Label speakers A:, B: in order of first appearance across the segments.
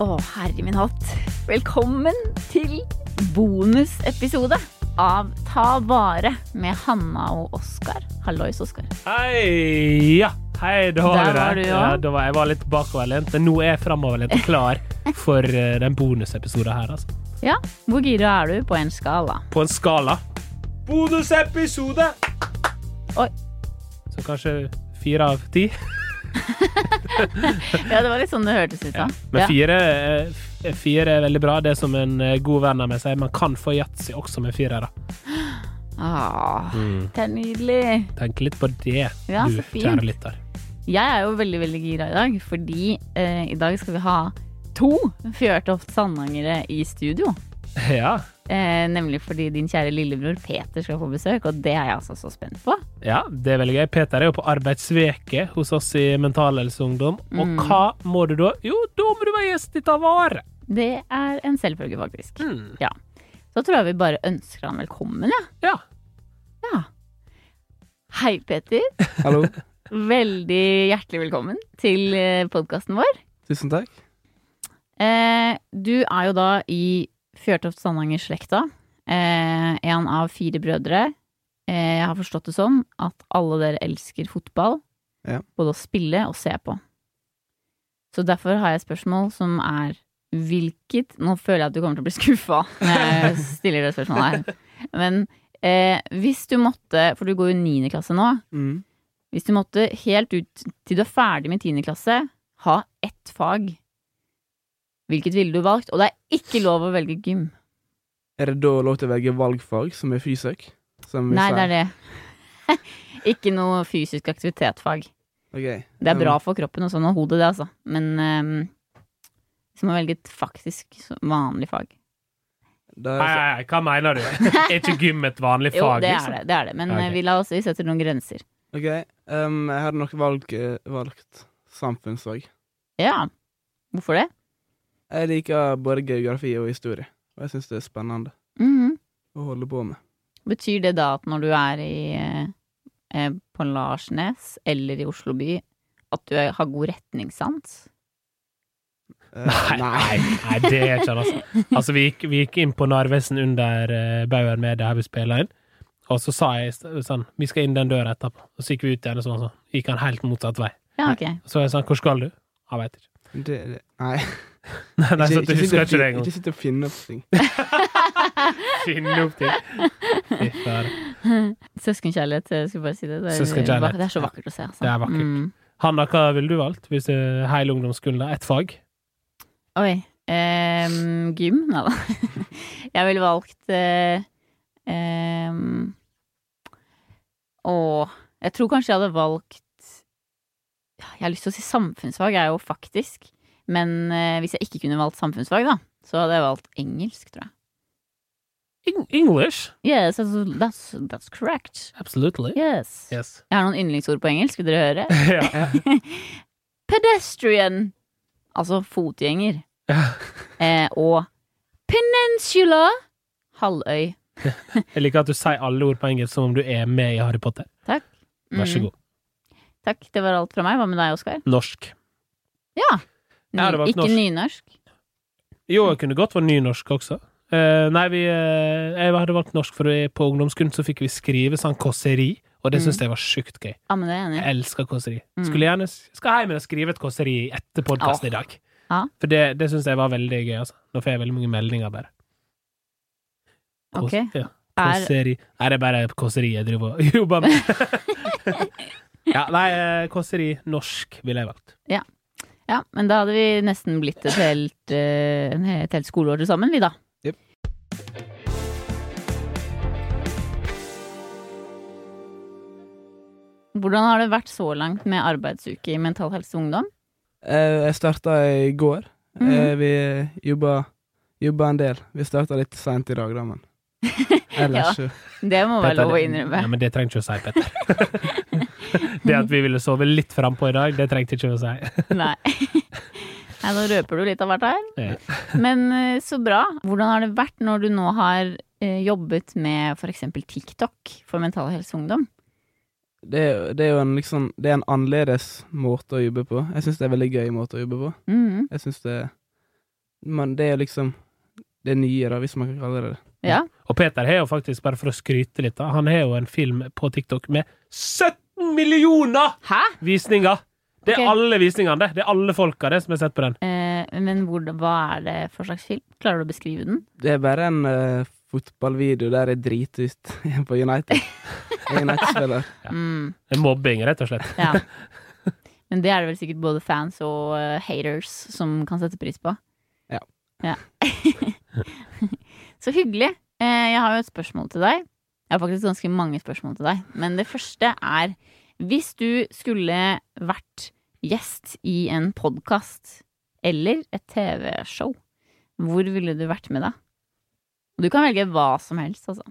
A: Å, herre min hatt. Velkommen til bonusepisode av Ta vare med Hanna og Oskar. Hallois, Oskar.
B: Hei, ja. Hei, da
A: Der var
B: var vi
A: du,
B: der.
A: ja.
B: Ja, da var jeg var litt bakoverlent, men nå er jeg framoverlent og klar for eh, den bonusepisoden her, altså.
A: Ja, hvor gira er du på en skala?
B: På en skala. Bonusepisode!
A: Oi.
B: Så kanskje fire av ti.
A: Ja, det var litt sånn det hørtes ut da.
B: Men
A: Ja.
B: fire, eh, f- fire er veldig bra. Det er som en eh, god venn av meg sier, man kan få yatzy også med fire. da.
A: Ah, det er nydelig.
B: Tenk litt på det,
A: Ja,
B: du
A: så fint.
B: kjære lytter.
A: Jeg er jo veldig, veldig gira i dag, fordi eh, i dag skal vi ha to Fjørtoft Sandangere i studio.
B: Ja.
A: Eh, nemlig fordi din kjære lillebror Peter skal få besøk, og det er jeg altså så spent på.
B: Ja, det er veldig gøy. Peter er jo på arbeidsveke hos oss i Mentalhelseungdom. Og
A: Mm.
B: hva må du da? Jo, da må du være gjest i Ta vare!
A: Det er en selvfølge, faktisk.
B: Mm.
A: Så tror jeg vi bare ønsker han velkommen, ja.
B: Ja.
A: ja. Hei, Peter.
C: Hallo.
A: Veldig hjertelig velkommen til podkasten vår.
C: Tusen takk.
A: Eh, du er jo da i Fjørtoft Sandanger-slekta. Eh, en av fire brødre. Eh, jeg har forstått det sånn at alle dere elsker fotball.
C: Ja.
A: Både å spille og se på. Så derfor har jeg et spørsmål som er hvilket Nå føler jeg at du kommer til å bli skuffa når jeg stiller det spørsmålet her. Men eh, hvis du måtte, for du går jo niende klasse nå.
C: Mm.
A: Hvis du måtte helt ut til du er ferdig med 10. klasse, ha ett fag. Hvilket ville du valgt? Og det er ikke lov å velge gym.
C: Er det da lov til å velge valgfag, som er fysikk? Som
A: Nei, det er det. ikke noe fysisk aktivitetsfag. Det er bra
B: Mm.
A: for kroppen og sånn, og hodet, det, altså. Men ehm, hvis man velger et faktisk så- vanlig fag.
C: Da
B: Nei,
C: er
B: nei, nei, hva mener du? Er ikke gym et vanlig
A: Jo,
B: fag?
A: det er
B: liksom?
A: det, det er det. men
B: Ja, ok.
A: eh, vi, la oss, vi setter noen grenser.
C: så- ok, um, jeg hadde nok valg, eh, valgt samfunnsfag.
A: Ja. Hvorfor det?
C: Jeg liker både geografi og historie, og jeg syns det er spennende
A: Mhm.
C: å holde på med.
A: Betyr det da at når du er i, eh, eh, på Larsnes eller i Oslo by, at du er- har god retningssans?
C: Eh,
B: Nei, nei, nei, det er ikke det. Altså, altså vi, gikk, vi gikk inn på Narvesen under uh, Bauer Media, her vi spiller inn. Og så sa jeg st- sånn Vi skal inn den døra etterpå. Og så gikk vi ut igjen, og sånn, sånn. gikk han helt motsatt vei.
A: Ja, ok.
B: Så jeg sa Hvor skal du? Jeg veit ikke.
C: Det, det, nei.
B: Nei, nei, så du husker
C: sitte
B: ikke det
C: og-
B: engang.
C: ikke sitte og finne opp ting.
B: Finne opp ting. Fy faen.
A: Søskenkjærlighet, jeg skulle bare si det. Det er,
B: Søskenkjærlighet.
A: det er så vakkert å se. Altså.
B: Det er vakkert.
A: Mm.
B: Hanna, hva ville du valgt hvis eh, hele ungdomsskolen er ett fag?
A: Oi. ehm, gym? Nei da. Jeg ville valgt eh, ehm, Å Jeg tror kanskje jeg hadde valgt Jeg har lyst til å si samfunnsfag, jeg er jo faktisk. Men eh, hvis jeg ikke kunne valgt samfunnsfag, da, så hadde jeg valgt engelsk, tror jeg.
B: Eng- English?
A: Yes, that's, that's, that's correct.
B: Absolutely.
A: Yes.
B: Yes.
A: Jeg har noen yndlingsord på engelsk, vil dere høre?
B: ja.
A: Pedestrian, altså fotgjenger. Eh, og peninsula, halvøy.
B: Jeg liker at du sier alle ord på engelsk som om du er med i Harry Potter.
A: Mm,
B: Vær så god.
A: Takk, det var alt fra meg. Hva med deg, Oskar?
B: Norsk. Jeg hadde valgt
A: Ikke
B: norsk.
A: nynorsk.
B: Jo, jeg kunne godt vært nynorsk også. Eh, nei, vi, eh, jeg hadde valgt norsk, for på ungdomsskolen så fikk vi skrive sånn kåseri, og det
A: Mm.
B: syns jeg var sjukt gøy.
A: Ja, men det er jeg enig
B: Jeg
A: i.
B: elsker kåseri.
A: Mm.
B: Skulle gjerne s- skal hjem og skrive et kåseri etter podkasten i dag.
A: Ja.
B: For det, det syns jeg var veldig gøy, altså. Nå får jeg veldig mange meldinger, bare. Kås-
A: Ok.
B: Ja.
A: Er-
B: Kåseri Nei, det er bare kåseri jeg driver og jobber med. ja, nei, eh, kåseri norsk ville jeg valgt.
A: Ja, men da hadde vi nesten blitt et helt, eh, en he- et helt skoleår til sammen, vi da.
C: Jep.
A: Hvordan har det vært så langt med arbeidsuke i Mental Helse Ungdom?
C: Eh, Jeg starta i går.
A: Mhm.
C: Eh, Vi jobba, jobba en del. Vi starta litt seint i dag, da, men
A: Ja.
C: ellers så
A: Det må være
B: Petter,
A: lov å
B: det-
A: innrømme.
B: Ja, men det trenger ikke å si, Petter. det at vi ville sove litt frampå i dag, det trengte ikke å si.
A: Nei. Nei, nå røper du litt av hvert her.
B: Ja.
A: Men eh, så bra. Hvordan har det vært når du nå har eh, jobbet med f.eks. TikTok for Mental Helse Ungdom?
C: det er, jo- det er jo en liksom Det er en annerledes måte å jobbe på. Jeg syns det er en veldig gøy måte å jobbe på.
A: Mhm.
C: Jeg syns det Men det er liksom det nye, da, hvis man kan kalle det det.
A: Ja.
B: Og Peter har jo faktisk, bare for å skryte litt, da, han har jo en film på TikTok med 17 millioner
A: Hæ?
B: visninger! Det er
A: Ok.
B: alle visningene, det. Det er alle folka det som har sett på den.
A: Eh, men hvor, hva er det for slags film? Klarer du å beskrive den?
C: Det er bare en eh, fotballvideo der jeg driter ut på United. Jeg er United-spiller.
B: Ja.
A: Mm,
B: Det er mobbing, rett og slett.
A: ja. Men det er det vel sikkert både fans og eh, haters som kan sette pris på.
C: Ja.
A: Ja. Så hyggelig. Eh, jeg har jo et spørsmål til deg. Jeg har faktisk ganske mange spørsmål til deg. Men det første er Hvis du skulle vært gjest i en podkast eller et TV-show, hvor ville du vært med da? Og Du kan velge hva som helst, altså.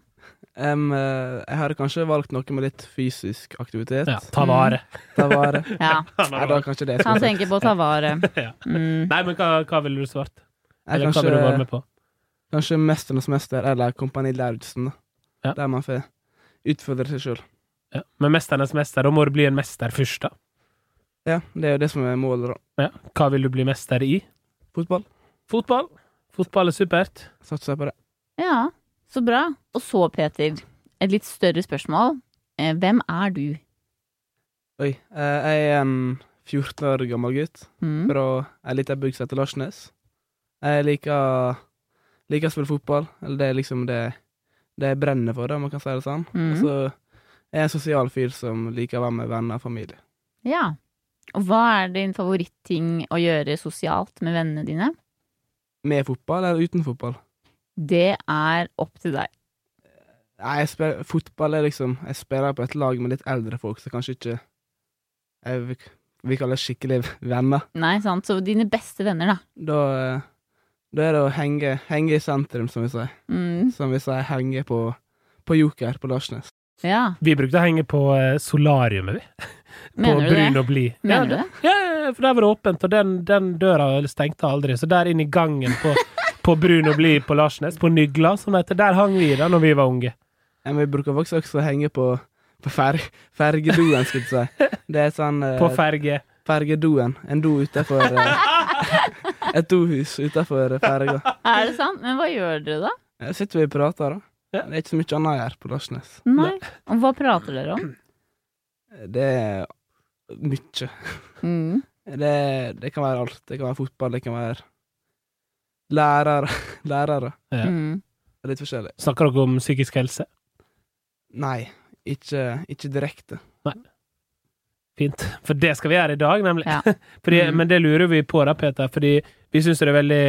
C: Em, eh, jeg hadde kanskje valgt noe med litt fysisk aktivitet.
B: Ja, ta vare.
C: Da var det.
A: Mm. Ja.
C: Nei, det var kanskje det jeg
A: Han
C: skulle sagt.
A: tenker på å ta vare.
B: Ja.
A: Mm.
B: Nei, men hva, hva ville du svart?
C: Jeg,
B: Eller hva ville du vært
C: kanskje,
B: med på?
C: kanskje Mesternes mester eller Kompani Lauritzen, da.
B: Ja.
C: Der man får utfordre seg sjøl.
B: Ja. Men Mesternes mester, da må du bli en mester først, da.
C: Ja, det er jo det som er målet, da.
B: Ja. Hva vil du bli mester i?
C: Fotball.
B: Fotball. Fotball er supert.
C: Satser jeg på det.
A: Ja, så bra. Og så, Peter, et litt større spørsmål. Eh, Hvem er du?
C: Oi. eh, jeg er en 14 år gammel gutt
A: Mm.
C: fra ei lita bygd som heter Larsnes. Jeg liker, liker å spille fotball. Eller det er liksom det, det jeg brenner for, da, om man kan si det sånn.
A: Mhm.
C: Og så er jeg en sosial fyr som liker å være med venner og familie.
A: Ja. Og hva er din favoritting å gjøre sosialt med vennene dine?
C: Med fotball eller uten fotball?
A: Det er opp til deg.
C: Nei, jeg spiller, fotball er liksom Jeg spiller på et lag med litt eldre folk, så kanskje ikke jeg vil, vil kalle det skikkelig venner.
A: Nei, sant? Så dine beste venner, da.
C: Da, eh, da er det å henge, henge i sentrum, som vi sier.
A: Mm.
C: Som vi sier henge på, på Joker på Larsnes.
A: Ja,
B: Vi brukte å henge på eh, solariumet, vi.
A: mener
B: på
A: du det?
B: Brun og blid.
A: Mener
B: ja,
A: du det?
B: Ja, ja, for der var det åpent, og den, den døra stengte aldri. Så der inne i gangen på, på Brun og blid på Larsnes, på Nygla, som det heter, der hang vi da når vi var unge.
C: Ja, Men vi bruker faktisk også å henge på, på fer, fergedoen, skulle jeg si. Det er sånn eh,
B: På ferge.
C: fergedoen. En do utenfor eh, Et dohus utenfor ferga.
A: Er det sant? Men hva gjør dere da?
C: Ja, sitter vi og prater,
B: Ja.
C: da. Det er ikke så mye annet å gjøre på Larsnes.
A: Nei. Og hva prater dere om?
C: Det er mye.
A: Mm.
C: Det, det kan være alt. Det kan være fotball, det kan være lærere. Lærere.
B: Ja.
A: Mm.
C: Litt forskjellig.
B: Snakker dere om psykisk helse?
C: Nei, ikke, ikke direkte.
B: Fint. For det skal vi gjøre i dag, nemlig.
A: Ja.
B: Fordi,
A: Mm.
B: Men det lurer vi på da, Peter, fordi vi syns det er veldig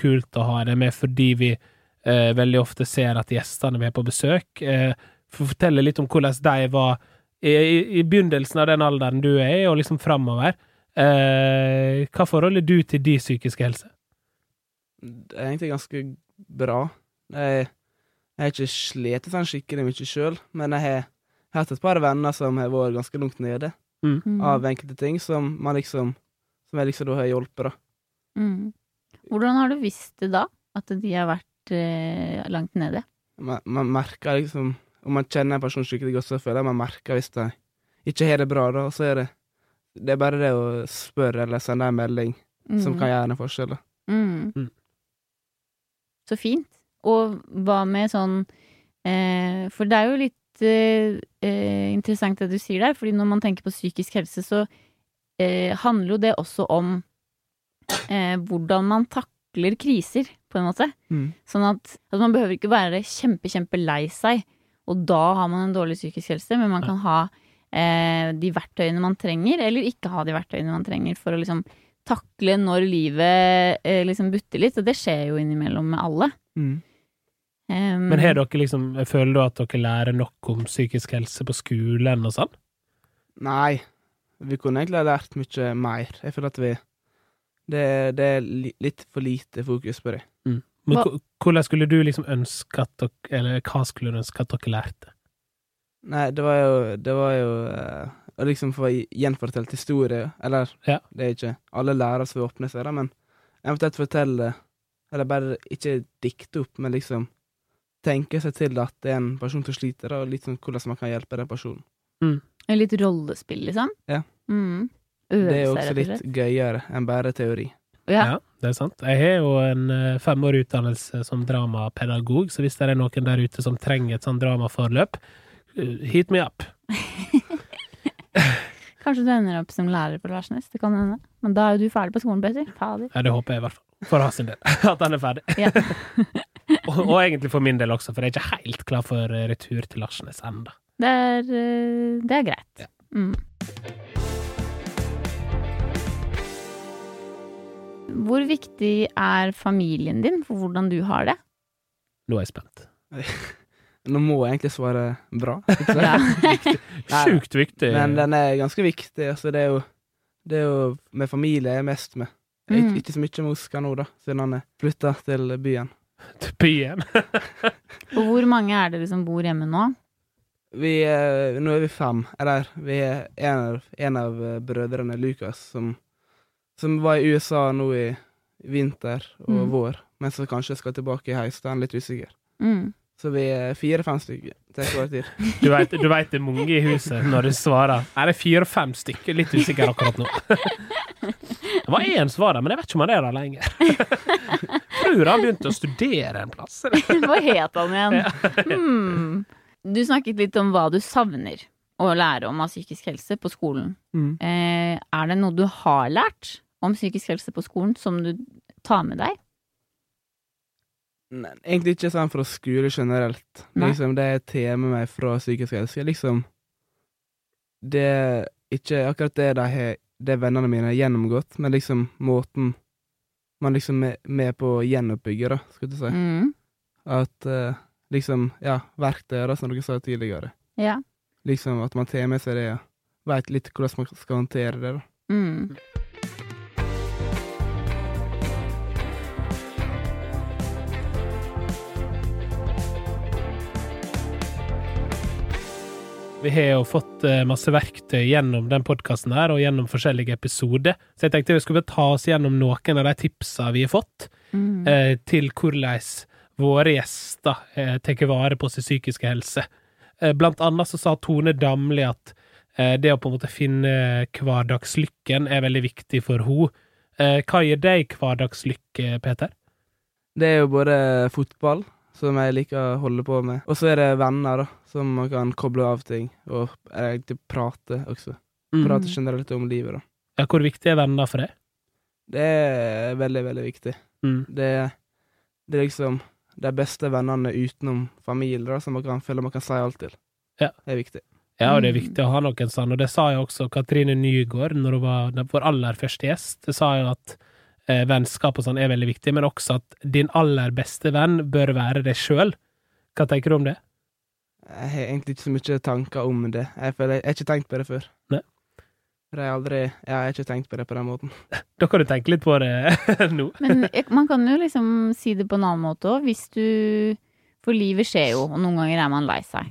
B: kult å ha det med fordi vi eh, veldig ofte ser at gjestene vi har på besøk eh, Får fortelle litt om hvordan de var i, i, i begynnelsen av den alderen du er i, og liksom framover. Eh, hva forhold er du til de psykiske helse?
C: Det er egentlig ganske bra. Jeg, jeg har ikke slitt sånn skikkelig mye sjøl, men jeg har hatt et par venner som har vært ganske langt nede
A: Mm.
C: av enkelte ting som man liksom Som jeg liksom da har hjulpet, da.
A: Mm. Hvordan har du visst det da? At de har vært eh, langt nede?
C: Man, man merker liksom Om man kjenner en person skikkelig godt, så føler jeg man merker hvis de ikke har det bra, da. og Så er det Det er bare det å spørre eller sende en melding
A: Mm.
C: som kan gjøre en forskjell. da.
A: Mm.
B: Mm.
A: Så fint. Og hva med sånn eh, For det er jo litt eh, eh, interessant det du sier der, fordi når man tenker på psykisk helse, så eh, handler jo det også om eh, hvordan man takler kriser, på en måte. Sånn at, at man behøver ikke være kjempe, kjempe lei seg, og da har man en dårlig psykisk helse, men man kan ha eh, de verktøyene man trenger, eller ikke ha de verktøyene man trenger for å liksom takle når livet eh, liksom butter litt, og det skjer jo innimellom med alle. Em,
B: Men har dere liksom, Føler du at dere lærer nok om psykisk helse på skolen og sånn?
C: Nei, vi kunne egentlig ha lært mye mer. Jeg føler at vi Det, det er li, litt for lite fokus på det.
B: Men
A: Hva-
B: ko- hvordan skulle du liksom ønske at dere Eller hva skulle du ønske at dere lærte?
C: Nei, det var jo Det var jo eh, å liksom få gjenfortalt historie, eller
B: Ja.
C: Det er ikke alle lærere som vil åpne seg, da, men eventuelt fortelle Eller bare ikke dikte opp, men liksom tenke seg til at det er en person som sliter, da, og litt sånn hvordan man kan hjelpe den personen.
A: Litt rollespill, liksom.
C: Ja.
A: Mm.
C: Det er
A: Øvelser,
C: jo
A: rett
C: også
A: og slett.
C: litt gøyere enn bare teori.
A: Ja.
B: Ja. det er sant. Jeg har jo en eh, femårig utdannelse som dramapedagog, så hvis det er noen der ute som trenger et sånt dramaforløp, eh, hit me up.
A: Kanskje du ender opp som lærer på Larsnes, det kan hende. Men da er jo du ferdig på skolen, Petter. Fader.
B: Ja, det håper jeg i hvert fall. For hans del. At han er ferdig.
A: Ja.
B: og, og egentlig for min del også, for jeg er ikke helt klar for eh, retur til Larsnes ennå.
A: Det er, eh, det er greit. Mm. Hvor viktig er familien din for hvordan du har det?
B: Nå er jeg spent.
C: Nå må jeg egentlig svare bra.
A: Ja.
C: Nei.
B: Sjukt viktig.
C: Men den er ganske viktig. Altså, det, er jo, det er jo med familie jeg er mest med. Jeg, er
A: Mm.
C: ikke- Ikke så mye med Oskar nå, da, siden han er flytta til byen.
B: PM.
A: Og hvor mange er dere som bor hjemme nå?
C: Vi er, nå er vi fem. Eller vi er en av, en av eh, brødrene, Lukas, som, som var i USA nå i vinter og
A: Mm.
C: vår, men som kanskje skal tilbake i høst. Han er litt usikker.
A: Mm.
C: Så vi er fire-fem stykker til hver tid.
B: Du vet, du vet det er mange i huset når du svarer. Er det fire-fem stykker? Litt usikker akkurat nå. Det var én svar der, men jeg vet ikke om han er der lenger. Tror han begynte å studere en plass.
A: Hva het han igjen? Hmm. Du snakket litt om hva du savner å lære om av psykisk helse på skolen.
C: Mm.
A: Eh, er det noe du har lært om psykisk helse på skolen som du tar med deg?
C: Nei, egentlig ikke sånn fra skole generelt.
A: Nei.
C: Liksom Det jeg tar med meg fra psykisk helse, er liksom Det er ikke akkurat det de har Det vennene mine har gjennomgått, men liksom måten man liksom er med på å gjenoppbygge, da, skal du si.
A: Mm.
C: At eh, liksom Ja, verktøy, da, som dere sa tidligere.
A: Ja.
C: Liksom at man tar med seg det, ja. Veit litt hvordan man skal håndtere det, da.
A: Mm.
B: Vi har jo fått eh, masse verktøy gjennom den podkasten her, og gjennom forskjellige episoder. Så jeg tenkte vi skulle bare ta oss gjennom noen av de tipsa vi har fått,
A: Mm.
B: eh, til hvordan våre gjester eh, tar vare på sin psykiske helse. Eh, blant annet så sa Tone Damli at eh, det å på en måte finne hverdagslykken er veldig viktig for henne. Eh, hva gir deg hverdagslykke, Peter?
C: Det er jo både fotball, som jeg liker å holde på med, og så er det venner, da, som man kan koble av ting, og egentlig prate også.
B: Mm.
C: Prate generelt om livet, da.
B: Ja, hvor viktig er venner for deg?
C: Det er veldig, veldig viktig.
B: Mm.
C: Det, det er liksom de beste vennene utenom familie, da, som man kan føle man kan si alt til.
B: Ja.
C: Det er viktig.
B: Ja, og det er
A: Mm.
B: viktig å ha noen sånn, og det sa jo også Katrine Nygaard når hun var den- vår aller første gjest. Det sa jo at eh, vennskap og sånn er veldig viktig, men også at din aller beste venn bør være deg sjøl. Hva tenker du om det?
C: Jeg har egentlig ikke så mye tanker om det. Jeg, føler, jeg har ikke tenkt på det før.
B: Nei.
C: For jeg har aldri ja, Jeg har ikke tenkt på det på den måten.
B: Da kan du tenke litt på det nå.
A: Men jeg- man kan jo liksom si det på en annen måte òg. Hvis du For livet skjer jo, og noen ganger er man lei seg.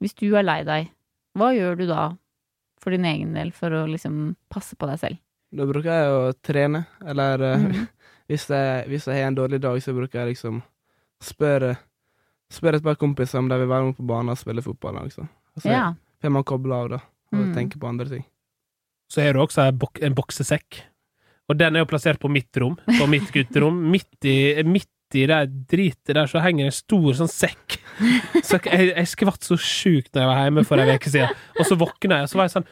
A: Hvis du er lei deg, hva gjør du da for din egen del for å liksom passe på deg selv?
C: Da bruker jeg å trene, eller eh,
A: Mm.
C: hvis, jeg, hvis jeg har en dårlig dag, så bruker jeg liksom spørre Spørre et par kompiser om de vil være med på banen og spille fotball. Liksom. Og så
A: Ja.
C: får man koble av, da, og
A: Mm.
C: tenke på andre ting.
B: Så har du også en, bok en boksesekk, og den er jo plassert på mitt rom, på mitt gutterom. Midt i, midt i det dritet der så henger en stor sånn sekk. Så jeg, jeg skvatt så sjukt når jeg var hjemme for en uke siden, og så våkna jeg, og så var jeg sånn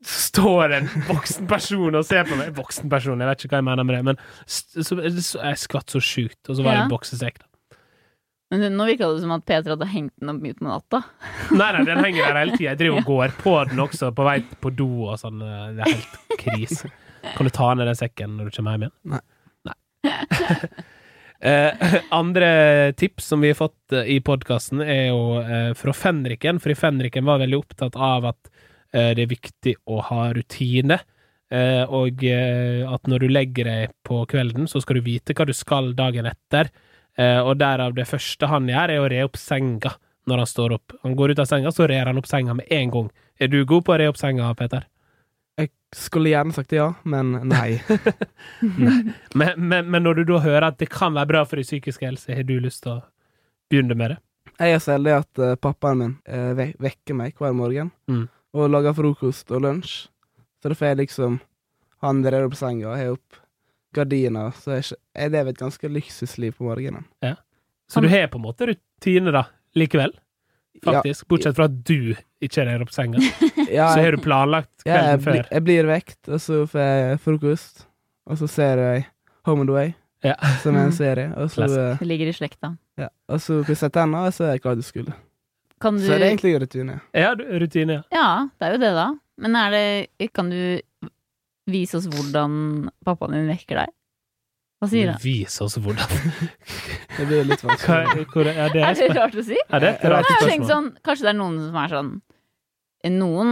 B: Står en voksen person og ser på meg Voksen person, jeg vet ikke hva jeg mener med det, men st- så, så, jeg skvatt så sjukt, og så var det en
A: Ja.
B: boksesekk. da.
A: Men det- nå virka det som at Peter hadde hengt den opp midt på natta.
B: Nei, nei, den henger der hele tida. Jeg driver og går på den også, på vei på do og sånn. eh, Det er helt krise. Kan du ta ned den sekken når du kommer hjem igjen?
C: Nei.
B: Nei. Eh, andre tips som vi har fått eh, i podkasten, er jo eh, fra Fenriken. For i Fenriken var veldig opptatt av at eh, det er viktig å ha rutine. eh, og eh, at når du legger deg på kvelden, så skal du vite hva du skal dagen etter. Eh, og derav det første han gjør, er å re opp senga når han står opp. Han går ut av senga, så rer han opp senga med en gang. Er du god på å re opp senga, Peter?
C: Jeg skulle gjerne sagt ja, men nei.
B: Men, men, men når du da hører at det kan være bra for din psykiske helse, har du lyst til å begynne med det?
C: Jeg er så heldig at eh, pappaen min eh, vek vekker meg hver morgen
B: Mm.
C: og lager frokost og lunsj. Så da får jeg liksom Han drar opp senga, og har opp gardiner, så jeg, skj- jeg lever et ganske luksusliv på morgenen.
B: Så du har på en måte rutine, da, likevel?
C: Ja,
B: Faktisk. Bortsett fra at du ikke er der opp senga.
C: ja,
B: Så
C: jeg,
B: har du planlagt
C: ja, jeg,
B: kvelden
C: bli,
B: før.
C: jeg blir vekt, og så får jeg frokost, og så ser jeg Home and Away,
B: Ja.
C: som er
A: Mm.
C: en serie, og så,
B: Klassisk.
C: eh,
A: Det ligger i slekta.
C: ja, og så pusser jeg tenner, og så er jeg klar til skole.
A: Kan du
C: Så det er egentlig en rutine.
B: Ja, du- rutine, ja.
A: Ja, det er jo det, da. Men er det Kan du vise oss hvordan pappaen din vekker deg? Hva sier han?
B: Vis oss hvordan
C: Det blir litt
B: Hva,
C: vanskelig.
B: hvor, ja, det er,
A: Er det
B: spen-
A: rart å si?
B: ja, det er et
C: Jeg
B: rart
A: Jeg har tenkt
B: spørsmål.
A: sånn, kanskje det er noen som er sånn Noen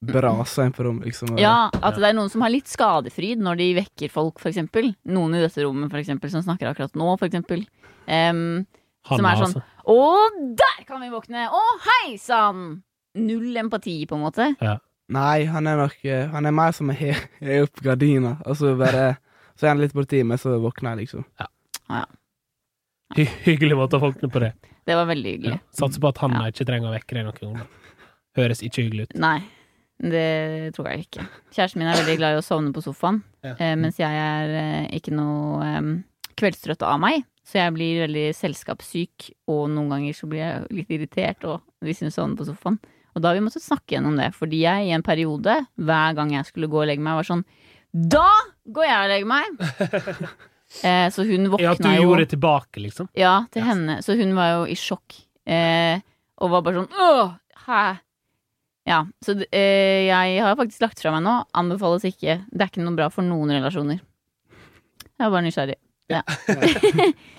C: Braser inn på rommet, liksom. og-
A: Ja, at det er noen som har litt skadefryd når de vekker folk, for eksempel. Noen i dette rommet, for eksempel, som snakker akkurat nå, for eksempel. Em,
B: Han
A: som er
B: har
A: sånn-
B: sånn.
A: å, der kan vi våkne! Å, hei sann! Null empati, på en måte.
C: Nei, han er nok eh, Han er mer som jeg he- heier opp gardina, og så bare Så er han litt borti meg, så våkner jeg, liksom.
B: Hy hyggelig måte å våkne på det.
A: Det var veldig hyggelig.
B: Ja. Satser på at han
A: Ja.
B: ikke trenger å vekke deg noen gang. Høres ikke hyggelig ut.
A: Nei, det tror jeg ikke. Kjæresten min er veldig glad i å sovne på sofaen,
B: Ja.
A: eh, mens jeg er eh, ikke noe eh, kveldstrøtt av meg. Så jeg blir veldig selskapssyk, og noen ganger så blir jeg litt irritert og hvis hun sovner på sofaen. Og da har vi måttet snakke gjennom det, fordi jeg i en periode, hver gang jeg skulle gå og legge meg, var sånn Da går jeg og legger meg! eh, så hun
B: Ja,
A: våkna
B: at du
A: jo
B: gjorde det tilbake, liksom.
A: ja, til
B: Ja.
A: henne. Så hun var jo i sjokk. Eh, og var bare sånn Åh, hæ? Ja, så d- eh, jeg har faktisk lagt fra meg nå. Anbefales ikke. Det er ikke noe bra for noen relasjoner. Jeg var bare nysgjerrig.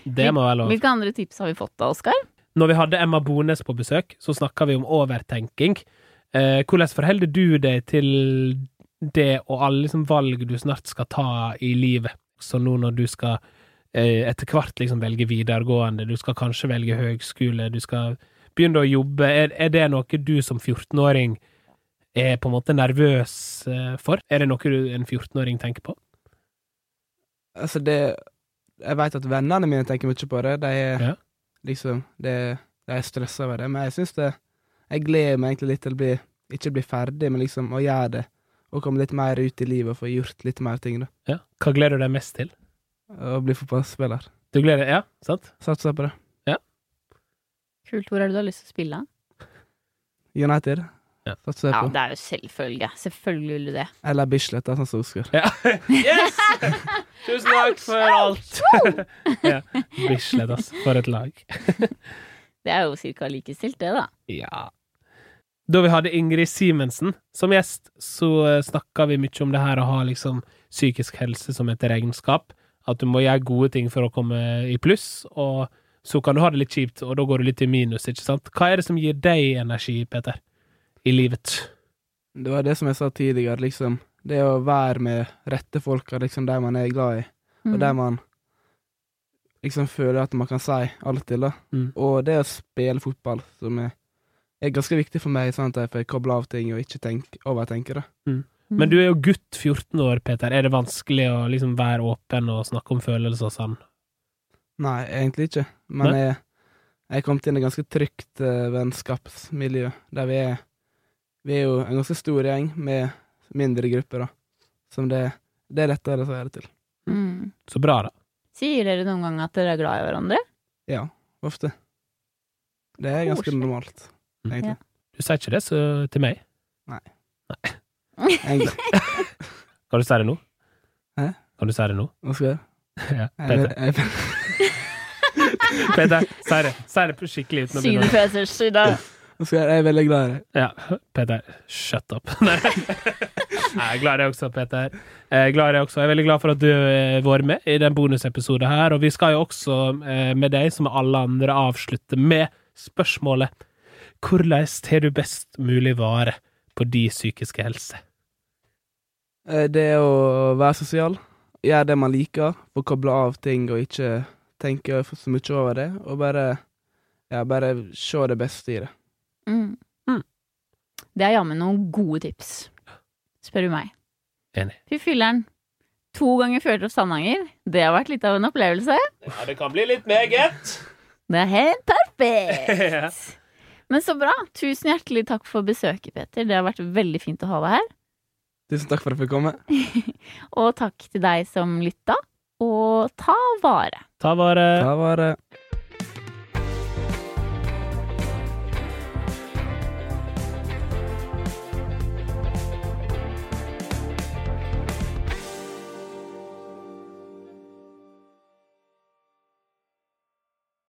B: Det må være lov.
A: Hvilke andre tips har vi fått da, Oskar?
B: Når vi hadde Emma Bones på besøk, så snakka vi om overtenking. Eh, hvordan forholder du deg til det og alle liksom, valg du snart skal ta i livet? Så nå når du skal eh, etter hvert liksom, velge videregående, du skal kanskje velge høgskole, du skal begynne å jobbe, er, er det noe du som 14-åring er på en måte nervøs eh, for? Er det noe du, en 14-åring tenker på?
C: Altså, det Jeg veit at vennene mine tenker mye på det. De er
B: Ja.
C: liksom det, De er stressa over det, men jeg syns det Jeg gleder meg egentlig litt til å bli Ikke bli ferdig, men liksom å gjøre det. Og komme litt mer ut i livet og få gjort litt mer ting, da.
B: Ja. Hva gleder du deg mest til?
C: Og bli fotballspiller.
B: Du gleder Ja, sant?
C: Satser på det.
A: Kult. Hvor er det du har lyst til å spille?
C: United.
B: Ja.
C: Satser
A: Ja,
C: jeg på.
A: det er jo selvfølge. Selvfølgelig vil du det.
C: Eller Bislett, da, sånn som Oskar.
B: Ja. Yes! Tusen takk for alt! ja. Bislett, ass. For et lag.
A: Det er jo cirka likestilt, det, da.
B: Ja. Da vi hadde Ingrid Simensen som gjest, så snakka vi mye om det her å ha liksom psykisk helse som et regnskap. At du må gjøre gode ting for å komme i pluss, og så kan du ha det litt kjipt, og da går du litt i minus, ikke sant? Hva er det som gir deg energi, Peter, i livet?
C: Det var det som jeg sa tidligere, liksom. Det å være med rette folka, liksom, de man er glad i, og
A: Mm.
C: de man liksom føler at man kan si alt til, da.
B: Mm.
C: Og det å spille fotball, som er, er ganske viktig for meg, sånn at jeg får kobla av ting og ikke tenk, overtenke det.
B: Men du er jo gutt 14 år, Peter. Er det vanskelig å liksom være åpen og snakke om følelser og sånn?
C: Nei, egentlig ikke, men
B: Nei.
C: jeg, jeg kom til en ganske trygt eh, vennskapsmiljø, der vi er Vi er jo en ganske stor gjeng med mindre grupper, da, som det, det er lettere å si det til.
A: Mm.
B: Så bra, da.
A: Sier dere noen gang at dere er glad i hverandre?
C: Ja, ofte. Det er ganske
A: Koselig.
C: normalt,
B: Mm.
C: egentlig.
B: Du sier ikke det så, til meg.
C: egentlig.
B: Kan du si det nå?
C: Hæ?
B: Kan du si det nå?
C: Hva skal jeg gjøre?
B: ja,
C: Jeg,
B: Peter,
C: jeg,
B: Peter si det. Si det på skikkelig
A: Si
B: uten å
A: det,
B: begynne å
A: Peter. Si det.
C: hva skal jeg, gjøre? jeg er veldig glad i deg.
B: ja, Peter, shut up. Nei. Nei, Jeg er glad i deg også, Peter. Jeg er glad i deg også. Jeg er veldig glad for at du har vært med i den bonusepisoden her. Og vi skal jo også eh, med deg, som med alle andre, avslutte med spørsmålet Hvordan tar du best mulig vare på din psykiske helse?
C: Eh, Det å være sosial, gjøre det man liker, få koble av ting og ikke tenke for- så mye over det, og bare ja, bare se det beste i det.
A: Mm.
B: Mm.
A: Det er jammen noen gode tips, spør du meg.
B: Enig.
A: Fy fylleren. To ganger Fjørtoft Sandanger. Det har vært litt av en opplevelse.
B: Ja, det kan bli litt meget.
A: Det er helt perfekt!
B: ja.
A: Men så bra. Tusen hjertelig takk for besøket, Peter. Det har vært veldig fint å ha deg her.
C: Tusen takk for at jeg fikk komme.
A: Og takk til deg som lytta, og ta vare.
B: Ta vare.
C: Da var eh, det